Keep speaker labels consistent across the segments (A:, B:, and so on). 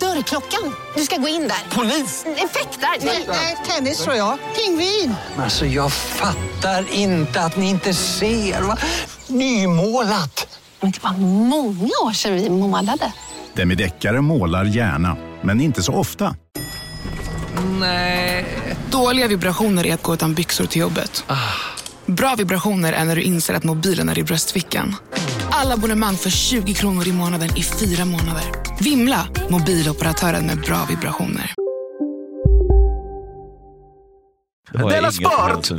A: Dörrklockan. Du ska gå in där. Polis? Effektar? Nej, tennis tror jag. Pingvin.
B: Alltså jag fattar inte att ni inte ser. Va? Nymålat!
C: Men det var många år sedan vi målade.
D: Demideckare målar gärna, men inte så ofta.
E: Dåliga vibrationer är att gå utan byxor till jobbet. Bra vibrationer är när du inser att mobilen är i bröstfickan. Alla abonnemang för 20 kronor i månaden i fyra månader. Vimla! Mobiloperatören med bra vibrationer.
F: Della Sport!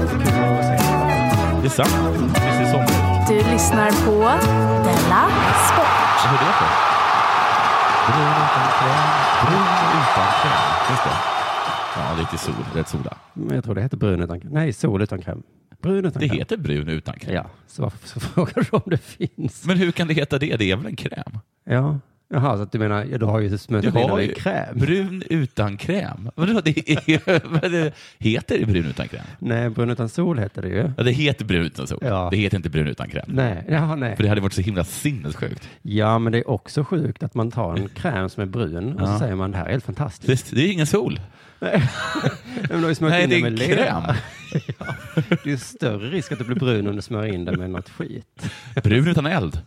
F: Det är sant. Precis som.
G: Du lyssnar på Della Sport.
F: Vad är det för? Brun utan kräm. Brun utan kräm. Just det. Ja, lite sol. Rätt sola.
H: Men jag tror det heter brun utan kräm. Nej, sol utan kräm. Brun utan
F: Det
H: kräm.
F: heter brun utan kräm.
H: Ja, så varför så frågar du om det finns?
F: Men hur kan det heta det? Det är väl en kräm?
H: Ja, jaha, så att du menar, ja, du har ju
F: Du
H: smutit in den i kräm?
F: brun utan kräm. Vadå, det är, vad det, heter det brun utan kräm?
H: Nej, brun utan sol heter det ju.
F: Ja, det heter brun utan sol.
H: Ja.
F: Det heter inte brun utan kräm.
H: Nej, jaha, nej.
F: För det hade varit så himla sinnessjukt.
H: Ja, men det är också sjukt att man tar en kräm som är brun och så säger man det här är helt fantastiskt.
F: Det, det är ingen sol.
H: Nej, men du har ju smörjt
F: Nej,
H: in
F: det är
H: den med
F: en
H: lera.
F: kräm.
H: ja, det är ju större risk att du blir brun om du smörjer in den med något skit.
F: Brun utan eld.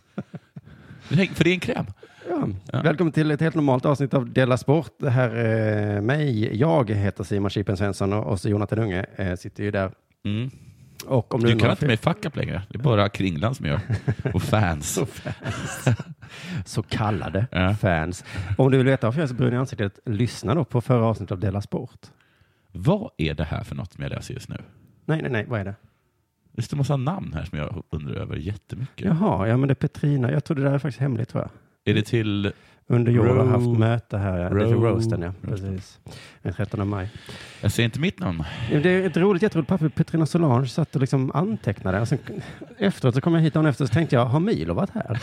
F: Nej, För det är en kräm.
H: Ja. Välkommen till ett helt normalt avsnitt av Della Sport. Det här är mig. Jag heter Simon Chippen Svensson och och så Jonathan Unge eh, sitter ju där.
F: Mm.
H: Och om
F: Du
H: undrar
F: kan inte med fuck up längre. Det är bara Kringlan som gör. Och fans.
H: så kallade
F: Ja.
H: fans. Om du vill veta varför jag är så brun i ansiktet, lyssna då på förra avsnittet av Della Sport.
F: Vad är det här för något som jag läser just nu?
H: Nej, nej, nej, vad är det?
F: Det står massa namn här som jag undrar över jättemycket.
H: Jaha, ja men det är Petrina. Jag tror det där är faktiskt hemligt tror jag.
F: Är det till...
H: Under jord har
F: Ro-
H: haft möte här. Ja. Det är för
F: Ro-
H: roasten, ja. Precis. Den 13 maj.
F: Jag ser inte mitt namn.
H: Det är ett roligt, jätteroligt papper. Petrina Solange satt och liksom antecknade. Och sen, efteråt så kom jag hit dagen efter och så tänkte jag, har Milo varit här?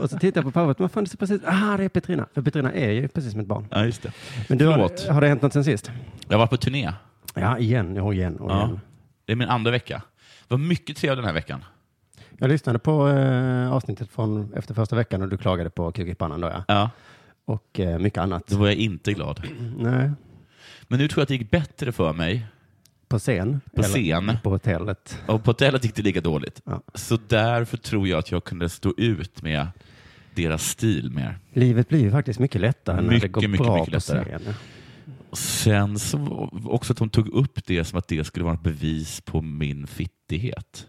H: och så tittade jag på pappret. Men fan, det är precis, ah, det är Petrina. För Petrina är ju precis mitt barn.
F: Ja, just det.
H: Men du,
F: Förlåt.
H: har, har det hänt något sen sist?
F: Jag var på turné.
H: Ja, igen och igen och igen.
F: Ja. Det är min andra vecka. Det var mycket trevligt den här veckan.
H: Jag lyssnade på eh, avsnittet från efter första veckan och du klagade på kuk i pannan då ja.
F: Ja,
H: Och eh, mycket annat.
F: då var jag inte glad.
H: Nej,
F: Men nu tror jag att det gick bättre för mig.
H: på scen.
F: På scen.
H: På hotellet.
F: Och på hotellet gick det lika dåligt.
H: Ja.
F: Så därför tror jag att jag kunde stå ut med deras stil mer.
H: Livet blir ju faktiskt mycket lättare när det
F: Mycket,
H: går
F: mycket,
H: bra
F: mycket
H: på
F: lättare.
H: scen.
F: Sen så var- också att de tog upp det som att det skulle vara ett bevis på min fittighet.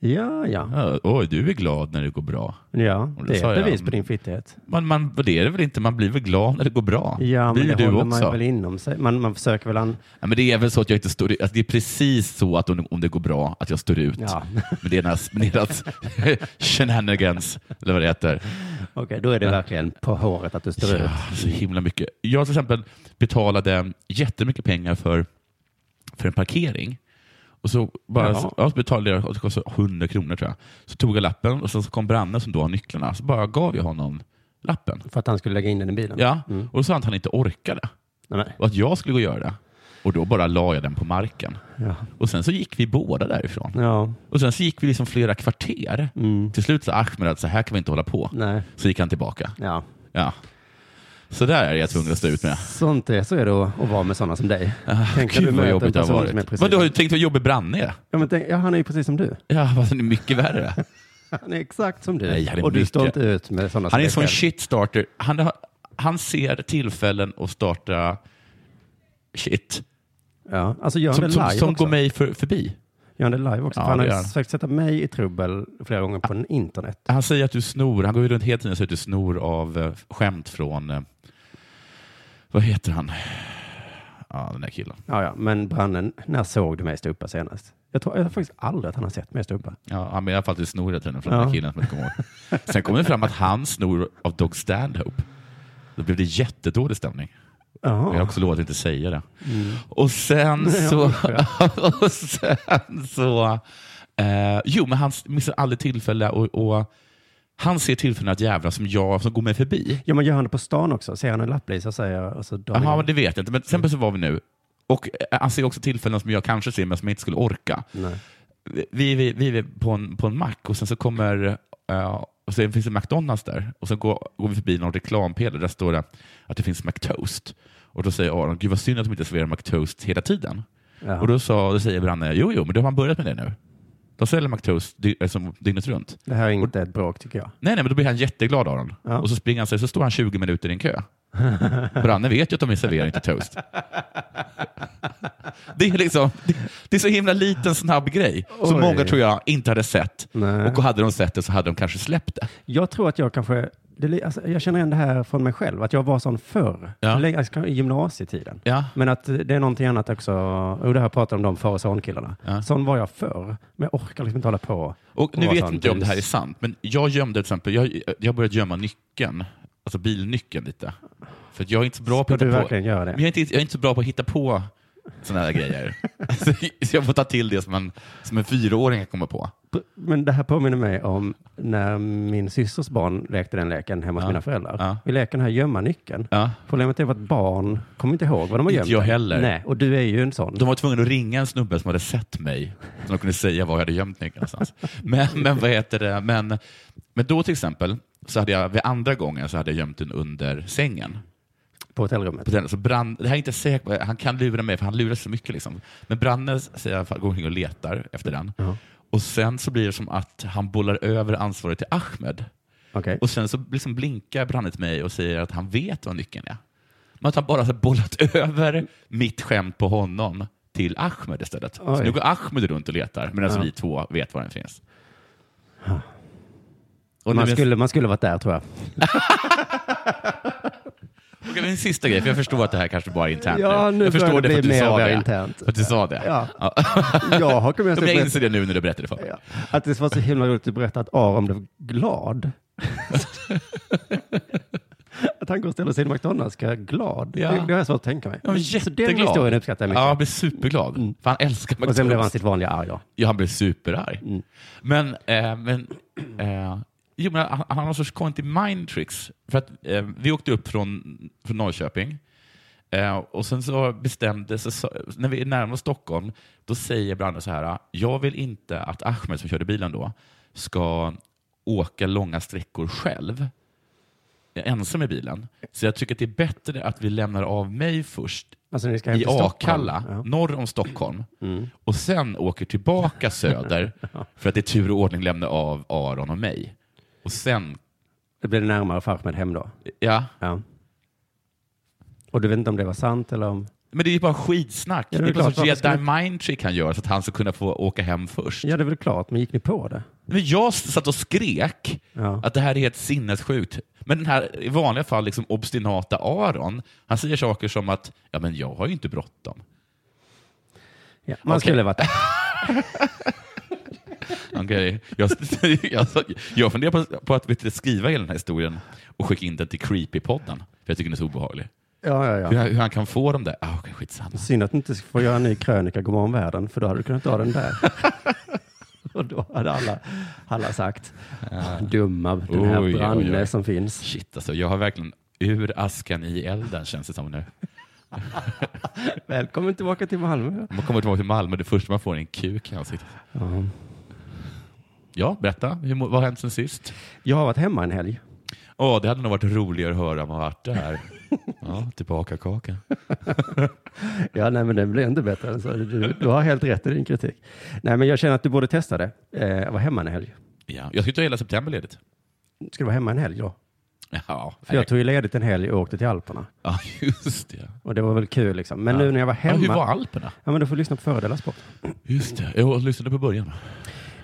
H: Ja, ja.
F: Ja, Oj, du är glad när det går bra.
H: Ja,
F: Och då
H: det
F: sa
H: är
F: jag,
H: bevis på
F: mm.
H: din fittighet.
F: Man, man, det är det väl inte? Man blir väl glad när det går bra?
H: Ja, men
F: blir
H: det
F: du
H: håller
F: också?
H: man väl inom sig. Man, man försöker väl an...
F: Ja, men det är väl så att jag inte står alltså, Det är precis så att om, om det går bra, att jag står ut
H: Ja.
F: med deras, med deras shenanigans, eller vad det heter.
H: Okej, då är det verkligen på håret att du står ut.
F: Ja, så himla mycket. Jag till exempel betalade jättemycket pengar för, för en parkering. Och så, bara,
H: Jaha.
F: så, ja, så betalade jag, och det kostade 100 kronor tror jag. Så tog jag lappen och sen så kom Branne som då har nycklarna. Så bara gav jag honom lappen.
H: För att han skulle lägga in den i bilen? Mm.
F: Ja, och då sa han att han inte orkade
H: Nej, men,
F: och att jag skulle gå och göra det. Och då bara la jag den på marken.
H: ja.
F: Och sen så gick vi båda därifrån.
H: ja.
F: Och sen så gick vi liksom flera kvarter.
H: Mm.
F: Till slut sa Ahmed att så här kan vi inte hålla på.
H: Nej.
F: Så gick han tillbaka.
H: Ja.
F: Ja. Så där är jag tvungen att stå ut med.
H: Sånt är, så är det att, att vara med sådana som dig. Tänk när
F: Ah, Gud vad
H: möter en
F: jobbigt det har
H: person som är
F: varit.
H: precis-
F: Vad du har ju tänkt vad jobbig Branne är?
H: Ja, men tänk, ja, han är ju precis som du.
F: Ja, fast han är mycket värre.
H: Han är exakt som du.
F: Nej, han är
H: och du står
F: mycket-
H: inte ut med sådana
F: Han
H: som
F: är en
H: dig
F: sån
H: själv.
F: shitstarter. Han, har- han ser tillfällen att starta shit
H: Ja, alltså gör han det
F: som, som,
H: live
F: som
H: också.
F: går mig för, förbi.
H: Gör han det live också?
F: Ja,
H: För han har
F: det
H: ju
F: gör han.
H: försökt sätta mig i trubbel flera gånger på internet.
F: Han säger att du snor, han går ju runt hela tiden och säger att du snor av eh, skämt från, eh, vad heter han?
B: Ja, den där killen.
H: Ja, ja, men brannen, när såg du mig stå uppe senast? Jag tror jag tror faktiskt aldrig att han har sett mig stå uppe.
B: Ja, han- men i alla fall till snoret från den där
H: Ja.
B: killen som jag kommer ihåg. Sen kom det fram att han snor av Dog Stanhope. Då blev det jättedålig stämning.
H: Jaha.
B: Jag har också lovat att inte säga det. Och sen så... och sen så eh, jo, men han missar aldrig tillfälle och, och han ser tillfällen att jävla som jag som går mig förbi.
H: Ja, men gör han det på stan också? Ser han en lapplisa säger och så drar han
B: Jaha,
H: igång.
B: men det vet jag inte. Men till exempel så var vi nu. Och eh, han ser också tillfällen som jag kanske ser, men som jag inte skulle orka.
H: Nej.
B: vi, vi, vi är på en, på en mack och sen så kommer eh, och sen finns det McDonalds där och sen går, går vi förbi någon reklampelare där står det att det finns McToast. Och då säger Aron, gud vad synd att de inte serverar McToast hela tiden.
H: Ja.
B: Och då, sa, då säger Branne, jo jo, men då har man börjat med det nu. De säljer McToast dy, liksom, dygnet runt.
H: Det här är inte ett bråk tycker jag.
B: Nej, nej, men då blir han jätteglad Aron.
H: Ja.
B: Och så springer han sig, så står han 20 minuter i en kö. Branne vet ju att de vill servera inte toast. Det är, liksom, det, det är så himla liten snabb grej som
H: Oj.
B: många tror jag inte hade sett.
H: Nej.
B: Och hade de sett det så hade de kanske släppt det.
H: Jag tror att jag kanske, det, li- alltså, jag känner igen det här från mig själv, att jag var sån förr,
B: Ja.
H: Länge- alltså, i gymnasietiden.
B: Ja.
H: Men att det är någonting annat också, och det här pratar om de far och sonkillarna.
B: Ja.
H: Sån var jag förr, men jag orkar liksom inte hålla på.
B: Och nu
H: vara
B: vet
H: sån
B: inte jag om det här är
H: bus.
B: sant, men jag gömde till exempel, jag, jag började gömma nyckeln, alltså bilnyckeln lite. För att jag är inte så bra på
H: Ska
B: att
H: du
B: hitta på,
H: verkligen göra det?
B: Men jag, är inte, jag är inte så bra på att hitta på sådana här grejer. Så jag får ta till det som en, som en fyraåring kan komma på.
H: P- Men det här påminner mig om när min systers barn lekte den leken hemma hos mina föräldrar.
B: Ja.
H: Vi leker den här gömma nyckeln.
B: Ja.
H: Problemet är att barn kommer inte ihåg vad de har
B: Inte
H: gömt.
B: jag
H: den.
B: heller.
H: Nej, och du är ju en sån.
B: De var tvungna att ringa en snubbe som hade sett mig, som de kunde säga var jag hade gömt nyckeln någonstans. Men, men vad heter det? Men, men då till exempel, så hade jag vid andra gången så hade jag gömt den under sängen.
H: På hotellrummet.
B: På den, så brann, det här är inte säkert, på, han kan lura mig för han lurar så mycket. Liksom. Men Branne säger i alla fall, går omkring och letar efter den. Och sen så blir det som att han bollar över ansvaret till Ahmed.
H: Okej.
B: Och sen så liksom blinkar Branne till mig och säger att han vet vad nyckeln är. Men att han bara har bollat över mitt skämt på honom till Ahmed istället. Så
H: Oj.
B: nu går Ahmed runt och letar medan vi två vet var den finns. Och nu
H: Man,
B: min,
H: skulle, man skulle varit där tror jag.
B: och min sista grej, för jag förstår att det här kanske bara är internt
H: Ja, nu
B: Jag förstår
H: börjar
B: det
H: det
B: för att
H: bli
B: du
H: mer och
B: sa
H: mer
B: det.
H: internt.
B: För att du sa det.
H: Ja. Jag har kommit
B: Ja, men jag inser det nu när du berättar det för mig.
H: Ja. Att det var så himla roligt att du berättade att Aron blev glad. att han går och ställer sig i en McDonalds-kö glad.
B: Ja.
H: Det, det har jag svårt att tänka mig.
B: Jag var
H: så
B: jätteglad.
H: den historien uppskattar jag mycket. Mm.
B: Ja, han blev superglad. För han älskar McDonalds.
H: och sen blev han sitt vanliga arg då.
B: Ja, han blev superarg. Men, eh, men, eh, jo, men han, han har någon sorts konstig mind tricks. För att, eh, vi åkte upp från, från Norrköping eh, och sen så bestämde så, sa- när vi närmade oss Stockholm, då säger Branne så här, jag vill inte att Ahmed som körde bilen då ska åka långa sträckor själv Jag är ensam i bilen. Så jag tycker att det är bättre att vi lämnar av mig först
H: Alltså ni ska hem
B: i
H: till Stockholm.
B: Akalla,
H: Ja. Mm.
B: norr om Stockholm, och sen åker tillbaka söder för att i tur och ordning lämna av Aron och mig. Och sen,
H: Det blir närmare Farhmed hem då.
B: ja,
H: Ja. Och du vet inte om det var sant eller om...
B: men det är ju bara skitsnack.
H: Ja,
B: det
H: det
B: är,
H: är
B: bara
H: klart.
B: något sorts
H: Varför
B: jedi mind trick han gör så att han ska kunna få åka hem först.
H: Ja, det är väl klart, men gick ni på det?
B: Men jag satt och skrek
H: Ja.
B: att det här är helt sinnessjukt. Men den här i vanliga fall liksom obstinata Aron, han säger saker som att ja, men jag har ju inte bråttom.
H: Ja, man
B: Okej.
H: skulle varit där.
B: Okay. Jag, jag, jag funderar på, på att vet du, skriva hela den här historien och skicka in den till Creepy-podden, för jag tycker den är så obehaglig.
H: Ja, ja,
B: Hur,
H: ja.
B: han- hur han kan få dem där? Ah, okay, skitsamma.
H: Synd att du inte får göra en ny krönika Godmorgon världen, för då hade du kunnat ta den där. och då hade alla, alla sagt, "Ah, dumma, den här
B: Oj, oj,
H: Branne
B: oj.
H: som finns.
B: Shit alltså, jag har verkligen ur askan i elden känns det som nu.
H: Välkommen tillbaka till Malmö.
B: Man kommer tillbaka till Malmö, det första man får är en kuk i ansiktet. Ja, berätta. Hur, må- vad har hänt sen sist?
H: Jag har varit hemma en helg.
B: Åh, det hade nog varit roligare att höra om man varit där. Ja, tillbaka kaka.
H: Ja, nej, men det blir inte bättre. än så. du, du har helt rätt i din kritik. Nej, men jag känner att du borde testa det. Eh, vara hemma en helg.
B: Ja, jag ska ta hela september ledigt.
H: Ska du vara hemma en helg då?
B: Ja,
H: För jag tog ju ledigt en helg och åkte till Alperna.
B: ja just det.
H: Och det var väl kul liksom. Men nu när jag var
B: Ja,
H: hemma.
B: hur var Alperna?
H: Ja, men du får lyssna på Föredelas podd.
B: Just det, jag lyssnade på början.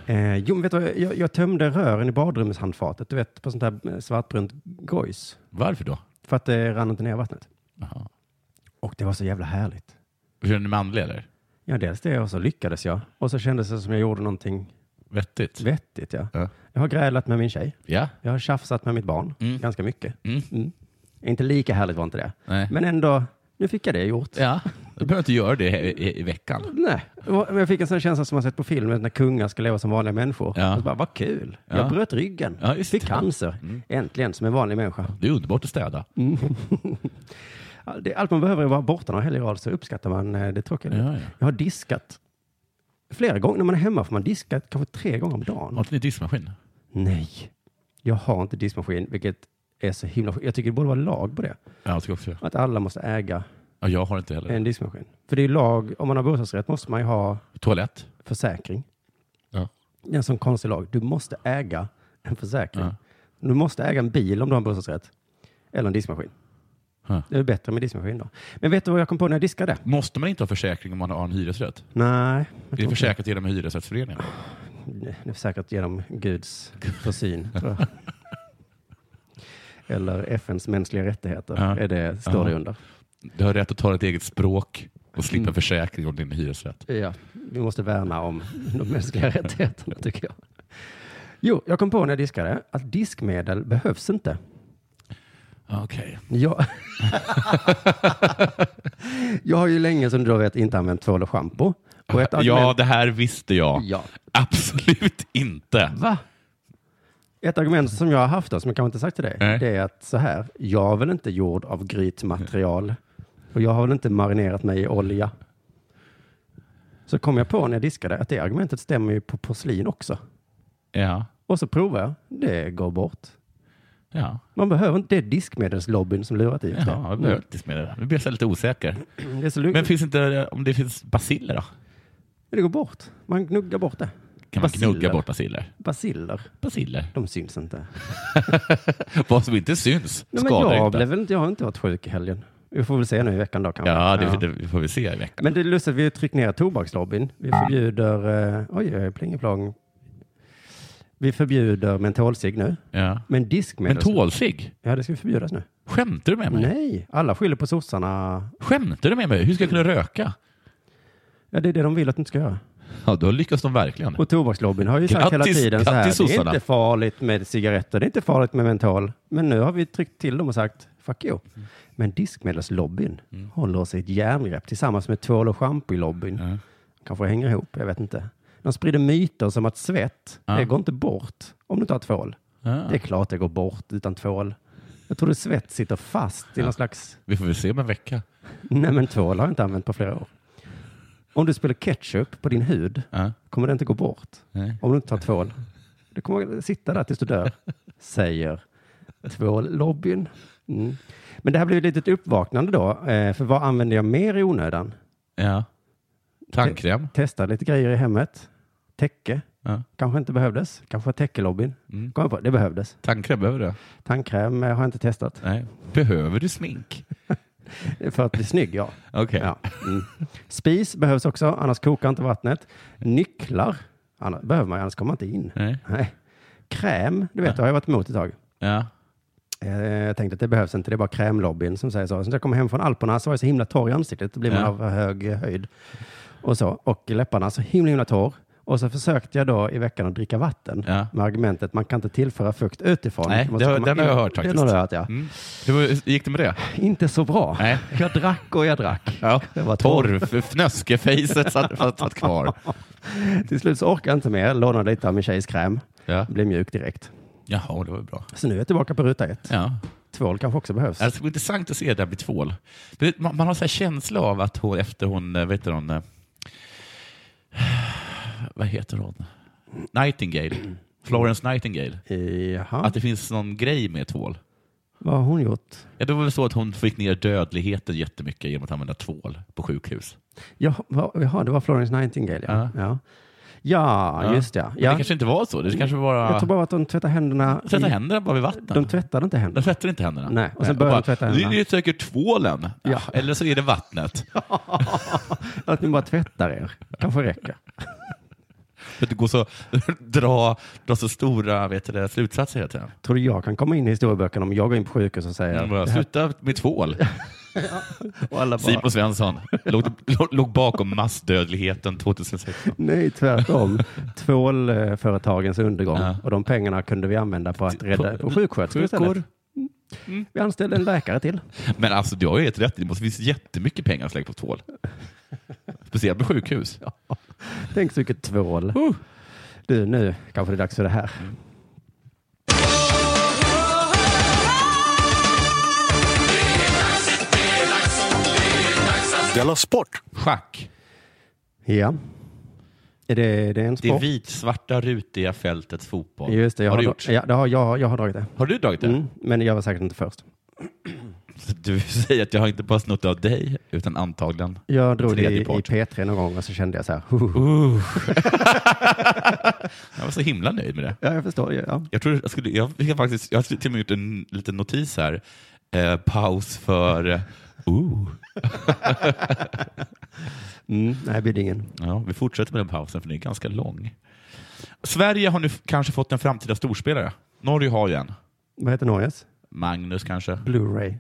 H: Eh, jo, men vet du, vad? jag, jag tömde rören i badrumshandfatet, du vet, på sånt där eh, svartbrunt gojs.
B: Varför då?
H: För att det rann inte ner vattnet.
B: Jaha.
H: Och det var så jävla härligt.
B: Kände du manlig eller?
H: Ja, dels det och så lyckades jag. Och så kändes det som jag gjorde någonting
B: vettigt.
H: vettigt ja. Jag har grälat med min tjej.
B: Ja.
H: Jag har tjafsat med mitt barn ganska mycket.
B: Mm.
H: Inte lika härligt var inte det.
B: Nej.
H: Men ändå, nu fick jag det gjort.
B: Ja, du behöver inte göra det i, i, i veckan.
H: Nej, det var- men jag fick en sån känsla som man sett på film när kungar ska leva som vanliga människor.
B: Ja.
H: Och så bara, vad kul!
B: Ja.
H: Jag bröt ryggen,
B: Ja, just
H: fick
B: det. Mm.
H: cancer, äntligen som en vanlig människa.
B: Det är underbart att städa.
H: All- det- Allt man behöver är att vara borta några helger i rad så uppskattar man eh, det tråkiga.
B: Ja, ja.
H: Jag har diskat flera gånger. När man är hemma får man diska kanske tre gånger om dagen.
B: Har inte ni diskmaskin?
H: Nej, jag har inte diskmaskin, vilket är så himla sjukt. Jag tycker det borde vara lag på det.
B: Ja, jag tycker också det.
H: Att alla måste äga
B: ja, Jag har inte heller.
H: en diskmaskin. För det är lag, om man har bostadsrätt måste man ju ha
B: Toalett?
H: försäkring.
B: Eh. Ja.
H: Det är en sån konstig lag. Du måste äga en försäkring.
B: Ja.
H: Du måste äga en bil om du har en bostadsrätt. Eller en diskmaskin.
B: Ja.
H: Det är bättre med diskmaskin då. Men vet du vad jag kom på när jag diskade?
B: Måste man inte ha försäkring om man har en hyresrätt?
H: Nej, jag
B: Det är
H: tror inte-
B: försäkrat genom hyresrättsföreningen.
H: det är säkert genom Guds försyn. tror jag. Eller FNs mänskliga rättigheter
B: Ja.
H: är det, står det
B: Ja.
H: under.
B: Du har rätt att ta ett eget språk och slippa försäkring om din hyresrätt.
H: Ja, vi måste värna om de mänskliga rättigheterna tycker jag. Jo, jag kom på när jag diskade att diskmedel behövs inte.
B: Okej.
H: Jag, jag har ju länge som du då vet inte använt tvål och schampo. Och ett
B: Ja,
H: argument,
B: det här visste jag.
H: Ja.
B: Absolut inte.
H: Va? Ett argument som jag har haft då, som jag kanske inte sagt till dig,
B: Nej.
H: det är att så här, jag är väl inte gjord av grytmaterial och jag har väl inte marinerat mig i olja. Så kom jag på när jag diskade att det argumentet stämmer ju på porslin också.
B: Ja.
H: Och så provar jag, det går bort.
B: Ja.
H: Man behöver inte, det är diskmedelslobbyn som lurat i oss
B: Ja, jag
H: det.
B: behöver inte med det. där. Nu blir jag så här lite osäker.
H: Mm, det, är så lugnt.
B: Men finns inte, om det finns basiller då?
H: det går bort. Man gnuggar bort det.
B: Kan man
H: Basiller.
B: gnugga bort basiller?
H: Basiller.
B: Basiller.
H: De syns inte.
B: Vad som inte syns
H: Nej, men
B: skadar
H: jag,
B: inte.
H: blev väl inte, jag har inte varit sjuk i helgen. Vi får väl se nu i veckan då kanske.
B: Ja, det, det får vi se i veckan.
H: Men det är lustigt, att vi har tryckt ner tobakslobbyn. Vi förbjuder, eh, oj, oj, plingeplong. Vi förbjuder mentolcigg nu.
B: Ja.
H: Men diskmedel.
B: Men tålsig?
H: Ja, det ska vi förbjudas nu.
B: Skämtar du med mig?
H: Nej, alla skyller på sossarna.
B: Skämtar du med mig? Hur ska jag kunna röka?
H: Ja, det är det de vill att du inte ska göra.
B: Ja, då lyckas de verkligen.
H: Och tobakslobbyn har ju sagt hela
B: Grattis-
H: tiden så
B: grattis,
H: här, det är
B: sossarna."
H: inte farligt med cigaretter, det är inte farligt med mentol. Men nu har vi tryckt till dem och sagt, fuck you. Men diskmedelslobbyn
B: Mm.
H: håller oss i ett järngrepp tillsammans med tvål och schampo-lobbyn.
B: Ja.
H: Kanske hänger ihop, jag vet inte. De sprider myter som att svett,
B: Ja.
H: det går inte bort om du tar tvål.
B: Ja.
H: Det är klart det går bort utan tvål. Jag tror att svett sitter fast i någon slags,
B: Vi får väl se om en vecka.
H: nej men tvål har jag inte använt på flera år. Om du spiller ketchup på din hud
B: Ja.
H: kommer det inte gå bort.
B: Nej.
H: Om du inte tar tvål. Du kommer sitta där tills du dör, säger tvållobbyn. Mm. Men det här blev ett litet uppvaknande då, eh, för vad använder jag mer i onödan?
B: Ja. Tandkräm?
H: Testa lite grejer i hemmet. Täcke
B: Ja. Mm.
H: kanske inte behövdes. Kanske var täckelobbyn. Kom jag på, det behövdes.
B: Tandkräm, behöver du det?
H: Tandkräm eh, har jag inte testat.
B: Nej. Behöver du smink?
H: För att bli snygg, ja.
B: Okej.
H: ja. Mm. Spis behövs också, annars kokar inte vattnet. Nycklar annars, behöver man ju, annars kommer man inte in.
B: Nej.
H: Nej. Kräm, du vet, det har jag varit emot ett tag.
B: Ja.
H: Eh, Jag tänkte att det behövs inte, det är bara krämlobbyn som säger så. Sen när jag kom hem från Alperna så var jag så himla torr i ansiktet, då blir man
B: Ja.
H: av hög höjd. Och, så. och läpparna så himla, himla torr. Och så försökte jag då i veckan att dricka vatten
B: Ja.
H: med argumentet man kan inte tillföra fukt utifrån.
B: Nej,
H: Det måste
B: det har-
H: komma
B: den har
H: in.
B: jag hört faktiskt.
H: Den har du hört, ja.
B: Mm. Hur gick det med det?
H: Inte så bra.
B: Nej.
H: Jag drack och jag drack.
B: Ja.
H: Det var
B: Torr. f- Fnöskefejset satt, satt, satt kvar.
H: Till slut så orkade jag inte mer, lånade lite av min tjejs kräm.
B: Ja.
H: Blev mjuk direkt.
B: Jaha, det var ju bra.
H: Så nu är jag tillbaka på ruta ett.
B: Ja.
H: Tvål kanske också behövs.
B: Alltså, Det ska bli intressant att se det där bli tvål. Du vet, Man, man har så här känsla av att hon efter hon, eh, vad heter hon, eh, vad heter hon? Nightingale. Florence Nightingale.
H: Jaha,
B: Att det finns någon grej med tvål.
H: vad har hon gjort?
B: Ja, det var väl så att hon fick ner dödligheten jättemycket genom att använda tvål på sjukhus.
H: Jaha, va- jaha, det var Florence Nightingale, ja. Ja, ja,
B: Ja.
H: just det.
B: Men
H: Ja.
B: Det kanske inte var så. Det kanske
H: Jag
B: bara...
H: tror bara att de tvättar händerna.
B: Tvätta
H: i-
B: händerna bara vid vatten.
H: De tvättade inte
B: De
H: händerna.
B: tvättar inte händerna.
H: Nej, och sen börjar de
B: bara,
H: tvätta händerna.
B: Det är ju säkert tvålen.
H: Ja.
B: Eller så är det vattnet.
H: Att ni bara tvättar er. Kanske räcker.
B: För att det går så, dra, dra så stora vet du, det, slutsatser hela tiden. Mm.
H: Tror du jag kan komma in i historieböckerna om jag går in på sjukhus och säger
B: Bara,
H: det här,
B: Sluta med tvål.
H: Och alla bara,
B: Simon Svensson låg, låg- låg bakom massdödligheten 2016.
H: nej tvärtom. Tvålföretagens undergång.
B: Ja.
H: Och de pengarna kunde vi använda på att rädda på sjuksköterskor
B: Sjukvård.
H: istället. Mm. Vi anställde en läkare till.
B: Men alltså, du har ju helt rätt. Det måste finnas jättemycket pengar att lägga på tvål. Speciellt på sjukhus.
H: Tänk så mycket tvål.
B: Uh.
H: Du, nu kanske det är dags för det här.
B: Mm.
D: Della Sport.
B: Schack.
H: Ja. Är det, det är en
B: Det är
H: sport?
B: vitsvarta rutiga fältets fotboll.
H: Just det, jag
B: har
H: har,
B: du
H: dra-
B: gjort?
H: Ja, det har, jag, jag har dragit det.
B: Har du dragit det?
H: Mm, men jag var säkert inte först.
B: Du säger att jag har inte bara snott av dig, utan antagligen
H: Jag drog det i,
B: tredje
H: i
B: part.
H: P3 någon gång och så kände jag så här. "Huh."
B: Jag var så himla nöjd med det.
H: Ja, jag förstår. ju, Ja.
B: Jag, tror jag, skulle, jag, jag, faktiskt, jag har till och med gjort en liten notis här. Eh, paus för... eh, Ooh.
H: Mm, nej, det blir ingen.
B: Ja, vi fortsätter med den pausen, för den är ganska lång. Sverige har nu f- kanske fått en framtida storspelare. Norge har ju en.
H: Vad heter Norges?
B: Magnus kanske?
H: Blu-ray.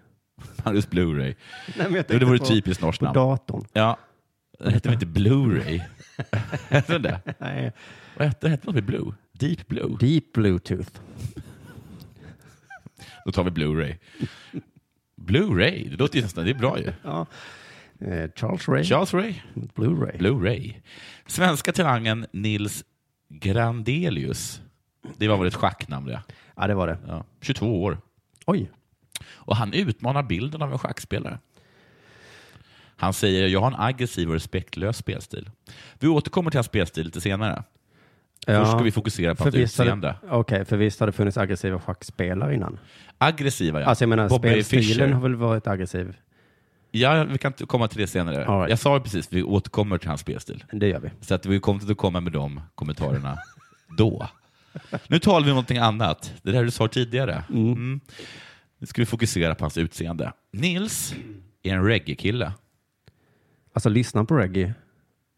B: Magnus Blu-ray.
H: Nej, men jag
B: Jo, Det
H: tänkte
B: vore ett
H: på-
B: typiskt norskt
H: På
B: namn.
H: datorn.
B: Ja. Den hette väl inte Blu-ray? hette den det?
H: Nej.
B: Vad hette den? Hette något med Blue? Deep Blue?
H: Deep Bluetooth.
B: Då tar vi Blu-ray. Blu-ray, det låter ju nästan, det är bra ju.
H: Ja. Eh, Charles Ray.
B: Charles Ray,
H: Blu-ray.
B: Blu-ray. Svenska talangen Nils Grandelius. Det var väl ett schacknamn det.
H: ja, det var det.
B: Ja. 22 år.
H: Oj.
B: Och han utmanar bilden av en schackspelare. Han säger jag har en aggressiv och respektlös spelstil. Vi återkommer till hans spelstil lite senare. Först ska vi fokusera på hans
H: visst har det-
B: utseende.
H: Okej, för visst har det funnits aggressiva schackspelare innan?
B: Aggressiva, ja.
H: Alltså jag menar,
B: Bobby Fischer.
H: spelstilen har väl varit aggressiv?
B: Ja, vi kan t- komma till det senare.
H: All right.
B: Jag sa ju precis, vi återkommer till hans spelstil.
H: Det gör vi.
B: Så att vi kommer inte att komma med de kommentarerna då. Nu talar vi om någonting annat. Det där du sa tidigare. Mm. Nu ska vi fokusera på hans utseende. Nils är en reggae-kille.
H: Alltså lyssna på reggae.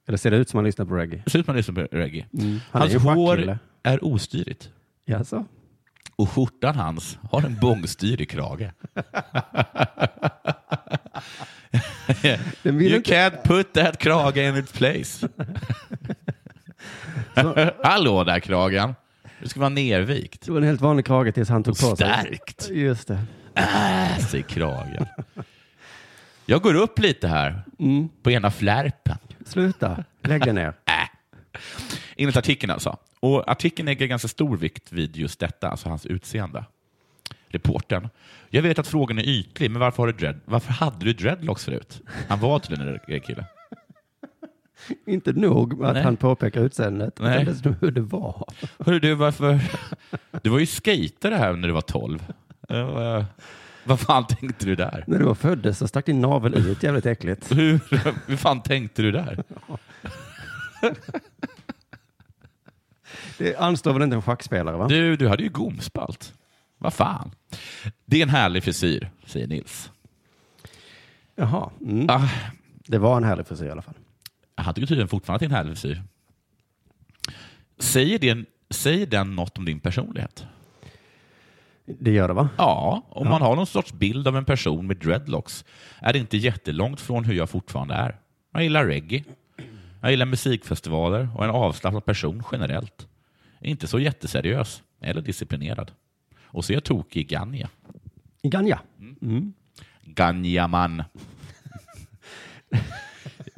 H: Eller ser det ut som man lyssnar på reggae?
B: Det ser ut som att man lyssnar på reggae.
H: Mm. Han
B: hans
H: är ju
B: hår
H: schackkille.
B: är ostyrigt.
H: Jaså?
B: Och skjortan hans har en bångstyrig krage.
H: Den vill
B: you
H: inte-
B: can't put that krage in its place. Hallå där kragen. Du ska vara nervikt.
H: Det var en helt vanlig krage tills han tog
B: Och
H: på sig.
B: stärkt.
H: Just det.
B: Äh, säger kragen. Jag går upp lite här på ena flärpen.
H: Sluta. Lägg dig ner.
B: Enligt artikeln alltså. Och artikeln lägger ganska stor vikt vid just detta, alltså hans utseende. Reportern. Jag vet att frågan är ytlig, men varför, har du dread, varför hade du dreadlocks förut? Han var tydligen en re- kille.
H: Inte nog med att
B: Nej.
H: han påpekar utseendet,
B: Nej.
H: utan dessutom hur det var.
B: Hörru du, varför... Du var ju skater här när du var 12. Eh, vad fan tänkte du där?
H: När du var föddes så stack din navel ut jävligt äckligt.
B: Hur, hur fan tänkte du där?
H: Det anstår väl inte en schackspelare va?
B: Du, du hade ju gomspalt. Vad fan. Det är en härlig frisyr, säger Nils.
H: Jaha. Mm.
B: Ah,
H: Det var en härlig frisyr i alla fall.
B: han tycker tydligen fortfarande att det är en härlig frisyr. Säger, det, säger den något om din personlighet?
H: Det gör det va?
B: Ja, om man har någon sorts bild av en person med dreadlocks är det inte jättelångt från hur jag fortfarande är. Jag gillar reggae. Jag gillar musikfestivaler och en avslappnad person generellt. Inte så jätteseriös eller disciplinerad. Och så är jag tokig i Ganja.
H: I Ganja.
B: Mm. Ganjaman.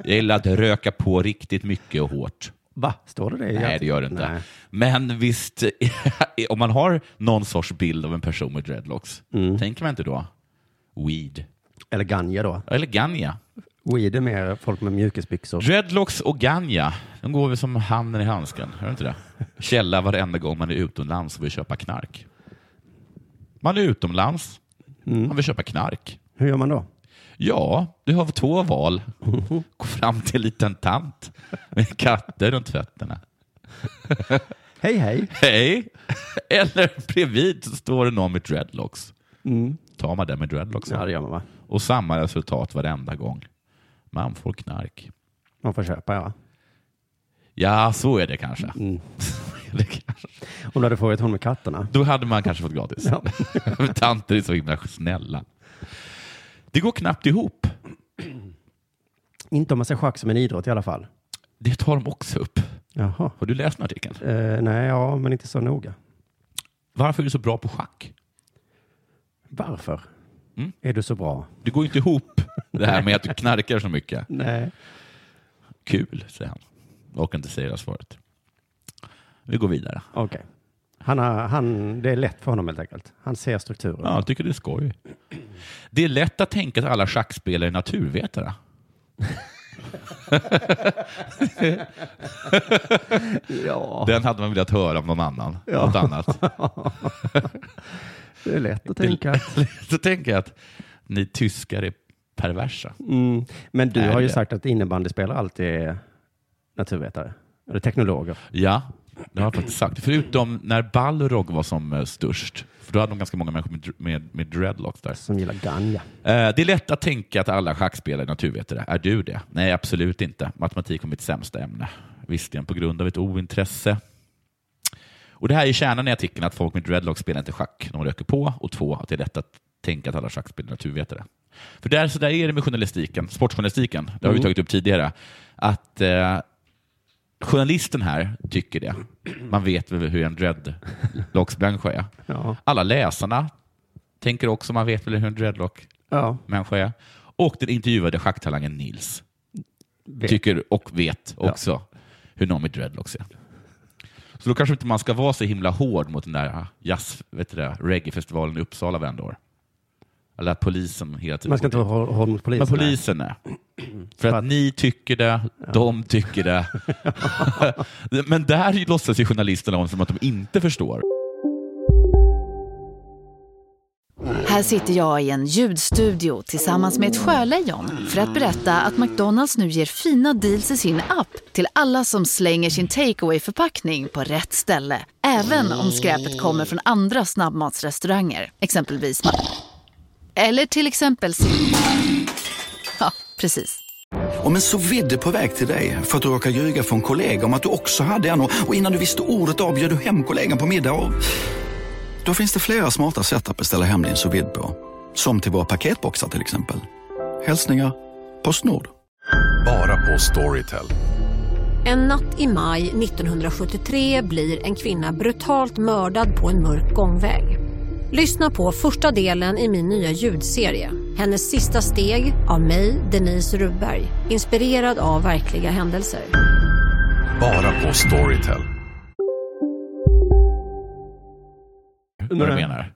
B: Jag gillar att röka på riktigt mycket och hårt.
H: Va? Står det det? i
B: Nej, det
H: artikeln?
B: gör det inte.
H: Nej.
B: Men visst, om man har någon sorts bild av en person med dreadlocks, tänker man inte då weed?
H: Eller Ganja då.
B: Eller ganja.
H: Weed är mer folk med mjukisbyxor.
B: Dreadlocks och ganja, de går väl som handen i handsken? Är det inte det? Källa varenda gång man är utomlands och vill köpa knark. Man är utomlands, man vill köpa knark.
H: Hur gör man då?
B: Ja, du har två val. Gå fram till en liten tant med katter runt fötterna.
H: Hej hej!
B: Hej! Eller bredvid så står det någon med dreadlocks. Tar man den med dreadlocks.
H: Ja, det gör man va?
B: Och samma resultat varenda gång. Man får knark.
H: Man får köpa ja.
B: Ja, så är det kanske. Så är det kanske.
H: Om du hade frågat hon med katterna.
B: Då hade man kanske fått gratis.
H: Ja.
B: Tanter är så himla snälla. Det går knappt ihop.
H: Inte om man ser schack som en idrott i alla fall.
B: Det tar de också upp.
H: Jaha.
B: Har du läst den artikeln?
H: Eh, nej, ja, men inte så noga.
B: Varför är du så bra på schack?
H: Varför?
B: Mm.
H: Är du så bra?
B: Det går ju inte ihop det här med att du knarkar så mycket.
H: Nej.
B: Kul, säger han. Jag orkar inte säga det här svaret. Vi går vidare.
H: Okej. Han har, han, det är lätt för honom helt enkelt. Han ser strukturen.
B: Ja, jag tycker det är skoj. Det är lätt att tänka att alla schackspelare är naturvetare.
H: Ja,
B: Den hade man velat höra om någon annan.
H: Ja.
B: Något annat.
H: det är lätt att tänka.
B: Så tänker jag att ni tyskar är perversa.
H: Mm. Men du
B: Är
H: har ju
B: det?
H: sagt att innebandyspelare alltid är naturvetare. Eller teknologer.
B: Ja, det har jag faktiskt sagt. Förutom när Balrog var som eh, störst. För då hade de ganska många människor med, med, med dreadlocks där.
H: Som gillar Ganja.
B: Eh, Det är lätt att tänka att alla schackspelare är naturvetare. Är du det? Nej, absolut inte. Matematik är mitt sämsta ämne. Visserligen på grund av ett ointresse. Och Det här är kärnan i artikeln, att folk med dreadlocks spelar inte schack. De röker på. Och två, att det är lätt att tänka att alla schackspelare är naturvetare. För där, så där är det med journalistiken, sportjournalistiken. Det har vi tagit upp tidigare. Att eh, journalisten här tycker det. Man vet väl hur en dreadlocksmänniska är.
H: Ja.
B: Alla läsarna tänker också, man vet väl hur en dreadlock
H: ja.
B: människa är. Och den intervjuade schacktalangen Nils
H: Vet.
B: tycker och vet också hur någon med dreadlocks är. Så då kanske inte man ska vara så himla hård mot den där ah, jazz, vet du det, reggaefestivalen i Uppsala varenda år. Eller att polisen hela tiden...
H: Man ska inte vara hård hård mot polisen.
B: Men polisen nej. För att ni tycker det, de tycker det. Men där låtsas ju journalisterna om som att de inte förstår.
A: Här sitter jag i en ljudstudio tillsammans med ett sjölejon för att berätta att McDonalds nu ger fina deals i sin app till alla som slänger sin takeaway förpackning på rätt ställe. Även om skräpet kommer från andra snabbmatsrestauranger, exempelvis Ma- Eller till exempel Sil- Ja, precis.
D: Om en så vidde på väg till dig för att du råkar ljuga från kollega om att du också hade en och och innan du visste ordet av bjöd du hem kollegan på middag och... Då finns det flera smarta sätt att beställa hem din sous vide på. Som till våra paketboxar till exempel. Hälsningar Postnord.
I: Bara på Storytel.
G: En natt i maj 1973 blir en kvinna brutalt mördad på en mörk gångväg. Lyssna på första delen i min nya ljudserie. Hennes sista steg av mig, Denise Rubberg. Inspirerad av verkliga händelser.
I: Bara på Storytel.
B: Vad du
H: Nej.
B: menar.